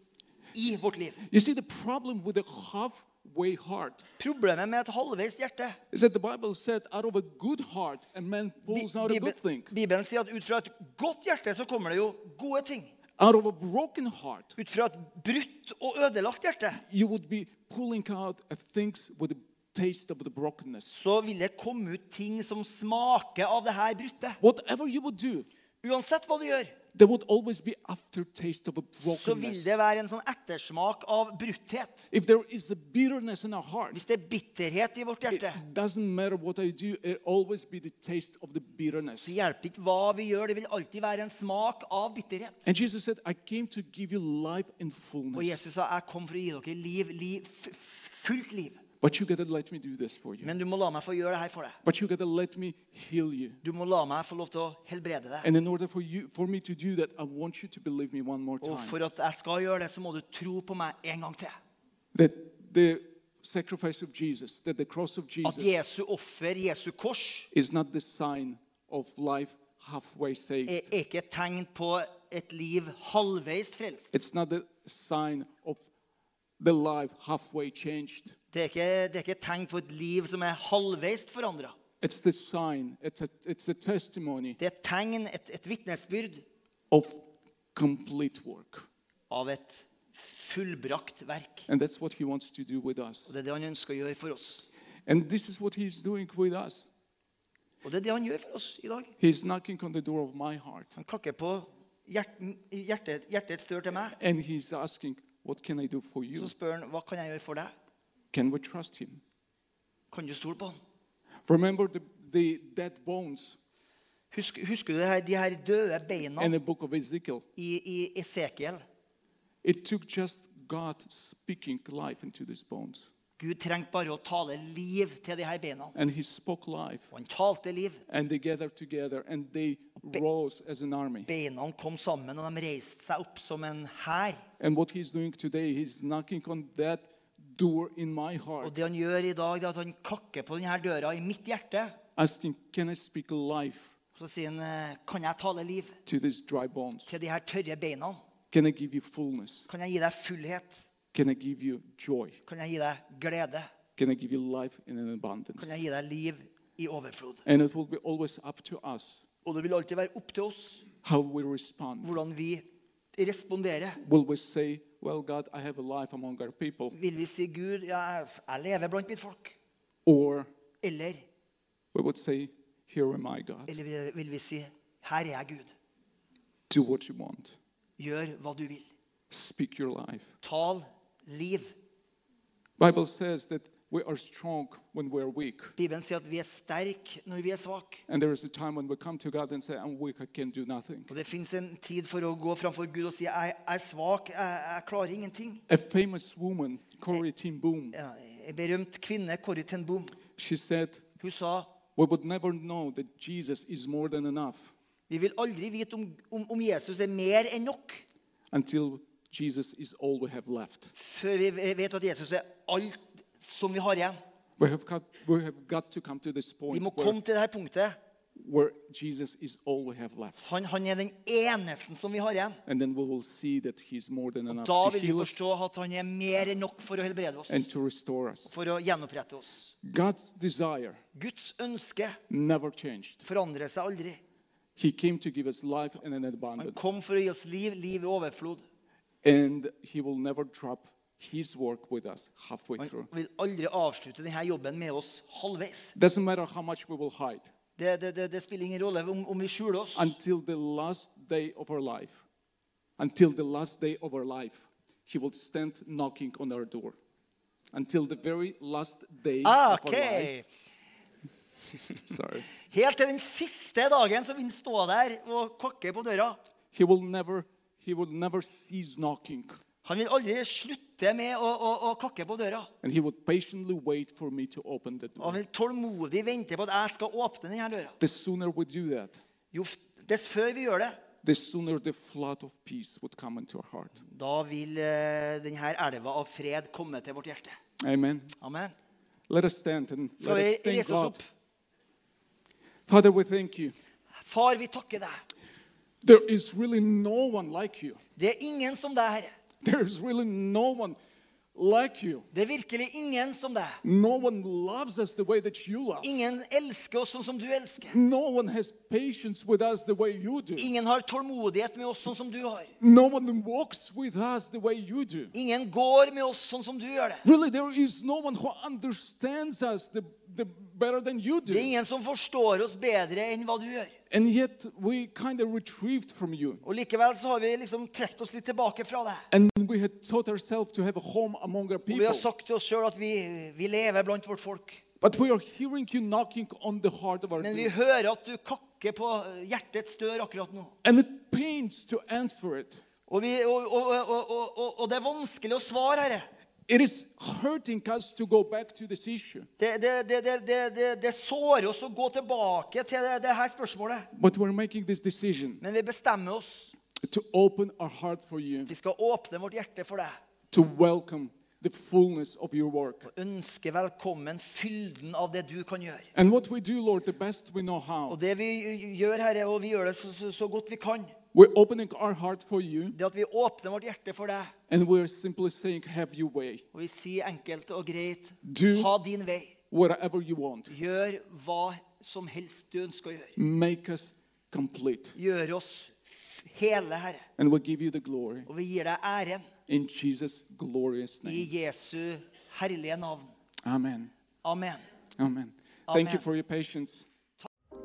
S2: i vårt liv.
S1: You see, the problem with the halfway heart
S2: Problemet med et halvveis hjerte
S1: is that the Bible said, out of a good heart, a man
S2: Bi-
S1: pulls out a good thing.
S2: Bibel- Bibelen sier at ut fra et godt hjerte så kommer det jo gode ting.
S1: Out of a broken heart,
S2: Ut fra et brutt og ødelagt hjerte
S1: you would be pulling out uh, things with a taste of the brokenness.
S2: så vil det komme ut ting som smaker av det her brutte.
S1: Whatever you would do,
S2: Uansett hva du gjør,
S1: there would always be aftertaste of a
S2: så vil
S1: brokenness.
S2: det være en sånn ettersmak av brutthet.
S1: If there is a bitterness in our heart,
S2: Hvis det er bitterhet i vårt hjerte,
S1: It doesn't matter what I do, it always be the taste of the bitterness.
S2: så hjelper ikke hva vi gjør. Det vil alltid være en smak av bitterhet.
S1: And Jesus said, I came to give you life in
S2: Og
S1: fullness.
S2: Jesus sa, 'Jeg kom for å gi dere liv, liv f- f- fullt liv.'
S1: But you gotta let me do this for you.
S2: Men du må la meg få gjøre det her for deg.
S1: But you gotta let me heal you.
S2: Du må la meg få lov til å helbrede deg.
S1: And in order for you for me to do that, I want you to believe me one more
S2: Og
S1: time.
S2: for at jeg skal gjøre det, så må du tro på meg en gang til.
S1: That the sacrifice of Jesus, that the cross of
S2: At
S1: Jesus
S2: Jesu offer, Jesu kors,
S1: is not the sign of life halfway
S2: er
S1: saved.
S2: ikke et tegn på et liv halvveis frelst.
S1: It's not the sign of the life halfway changed.
S2: Det er ikke, det er ikke et tegn på et liv som er halvveis forandra.
S1: It's the sign, it's a, it's a testimony
S2: Det er et tegn, et, et vitnesbyrd,
S1: of complete work.
S2: av et fullbrakt verk.
S1: And that's what he wants to do with us.
S2: Og det er det han ønsker å gjøre for oss.
S1: And this is what he's doing with us.
S2: Og det er det han gjør for oss i dag.
S1: He's knocking on the door of my heart
S2: Han klakker på hjerten, hjertet, hjertets dør til meg.
S1: and he's asking, What can I do for you?
S2: Så spør han hva kan jeg gjøre for deg.
S1: Can we trust him?
S2: Kan du stole på han?
S1: Remember the, the dead bones
S2: Husk, husker du det her, de her døde beina
S1: in the book of Ezekiel?
S2: i, i Esekiel?
S1: It took just God speaking life into these bones.
S2: Gud trengte bare å tale liv til de her beina.
S1: And he spoke life,
S2: Og han talte liv.
S1: and they gathered together and they rose as an army.
S2: Beina kom sammen, og de reiste seg opp som en hær.
S1: And what he's doing today, he's knocking on that door in my
S2: Og
S1: heart,
S2: det han gjør i dag, det er at han klakker på denne døra i mitt hjerte.
S1: asking, Can I speak life
S2: Og så sier han, eh, kan jeg tale liv
S1: to these dry bones?
S2: til de her tørre beina?
S1: Can I give you fullness?
S2: Kan jeg gi deg fullhet?
S1: Can I give you joy?
S2: Kan jeg gi deg glede?
S1: Can I give you life in an abundance?
S2: Kan jeg gi deg liv i overflod?
S1: And it will be always up to us
S2: Og det vil alltid være opp til oss
S1: how we respond.
S2: hvordan vi responderer.
S1: Will we say, Well, God, I have a life among our people?
S2: Vil vi si, Gud, jeg, jeg lever blant mitt folk?
S1: Or
S2: Eller,
S1: we would say, Here am I, God.
S2: eller vil- vil vi si, her er jeg, Gud?
S1: Do what you want.
S2: Gjør hva du vil.
S1: Speak your life.
S2: Tal liv.
S1: Bible says that we are strong when we are weak.
S2: Bibelen sier at vi er sterke når vi er svake.
S1: And there is a time when we come to God and say, I'm weak, I can do nothing.
S2: Og det fins en tid for å gå framfor Gud og si jeg jeg er svak, jeg, jeg klarer ingenting.
S1: A famous woman, Corrie Ten Boom,
S2: Ja, En berømt kvinne, Corrie ten Boom,
S1: she said,
S2: hun sa
S1: We would never know that Jesus is more than enough
S2: vi vil aldri vite om, om, om Jesus er mer enn nok
S1: until Jesus is all we have left.
S2: før vi vet at Jesus er alt som vi har igjen.
S1: We have got, we have got to come to this
S2: Vi
S1: point
S2: må
S1: where,
S2: komme til dette punktet.
S1: where Jesus is all we have left.
S2: Han, han er den eneste som vi har igjen.
S1: And then we will see that He's more than enough
S2: Da
S1: to
S2: vil vi
S1: heal us
S2: forstå at han er mer enn nok for å helbrede oss.
S1: and to restore us.
S2: For å gjenopprette oss.
S1: God's desire
S2: Guds ønske
S1: never changed.
S2: forandrer seg aldri.
S1: He came to give us life and an
S2: Han
S1: abundance.
S2: kom for å gi oss liv, liv i overflod.
S1: And He will never drop His work with us halfway
S2: Han
S1: through.
S2: vil aldri avslutte denne jobben med oss halvveis.
S1: Doesn't matter how much we will hide
S2: Det, det, det, det spiller ingen rolle om, om vi skjuler oss.
S1: until the last day of our life. Until the last day of our life, He will stand knocking on our door. Until the very last day
S2: Ah,
S1: of our life.
S2: ok.
S1: Sorry.
S2: Helt til den siste dagen så vil han stå der og kokke på døra.
S1: He will never. He will never cease knocking,
S2: Han vil aldri slutte med å, å, å kokke på døra.
S1: and He would patiently wait for me to open the door.
S2: Og han vil tålmodig vente på at jeg skal åpne denne døra.
S1: The sooner we do that,
S2: Jo f- dess før vi gjør det,
S1: the sooner the flood of peace would come into our heart.
S2: da vil eh, denne elva av fred komme til vårt hjerte.
S1: Amen.
S2: Amen.
S1: Let us stand and
S2: Skal
S1: let us
S2: vi
S1: thank
S2: reise oss
S1: God.
S2: opp?
S1: Father, we thank you.
S2: Far, vi takker deg.
S1: There is really no one like you.
S2: Det er ingen som deg, Herre.
S1: There is really no one like you.
S2: Det er virkelig ingen som deg.
S1: No one loves us the way that you love.
S2: Ingen elsker oss sånn som du elsker.
S1: No one has patience with us the way you do.
S2: Ingen har tålmodighet med oss sånn som du har.
S1: No one walks with us the way you do.
S2: Ingen går med oss sånn som du gjør det.
S1: Really, there is no one who understands us the, the better than you
S2: Det
S1: do.
S2: er ingen som forstår oss bedre enn hva du gjør.
S1: And yet we kind of retrieved from you.
S2: Og likevel så har vi liksom trukket oss litt tilbake fra deg.
S1: And we had taught ourselves to have a home among our
S2: Og vi
S1: people.
S2: har sagt til oss sjøl at vi, vi lever blant vårt folk.
S1: But we are hearing you knocking on the heart of our
S2: Men vi
S1: door.
S2: hører at du kakker på hjertets dør akkurat nå.
S1: And it pains to answer it.
S2: Og, vi, og, og, og, og, og, og det er vanskelig å svare, herre.
S1: It is hurting us to go back to this issue.
S2: Det, det, det, det, det, det, det sårer oss å gå tilbake til det, det her spørsmålet.
S1: But we're making this decision
S2: Men vi bestemmer oss.
S1: to open our heart for you,
S2: Vi skal åpne vårt hjerte for deg.
S1: to welcome the fullness of your work.
S2: Ønske velkommen fylden av det du kan gjøre.
S1: And what we do, Lord, the best we know how,
S2: Og det vi gjør, Herre, og vi gjør det så, så, så godt vi kan,
S1: we're opening our heart for you
S2: det at vi åpner vårt hjerte for deg,
S1: and we're simply saying, Have your way.
S2: og vi sier enkelt og greit
S1: Du-
S2: Ha din vei.
S1: Whatever you want,
S2: Gjør hva som helst du ønsker å gjøre.
S1: make us complete.
S2: Gjør oss f- hele, Herre.
S1: And we give you the glory
S2: Og vi gir deg æren
S1: in Jesus' glorious
S2: i
S1: name.
S2: Jesu herlige navn.
S1: Amen.
S2: Amen.
S1: Amen. Thank you
S2: Amen.
S1: for your patience.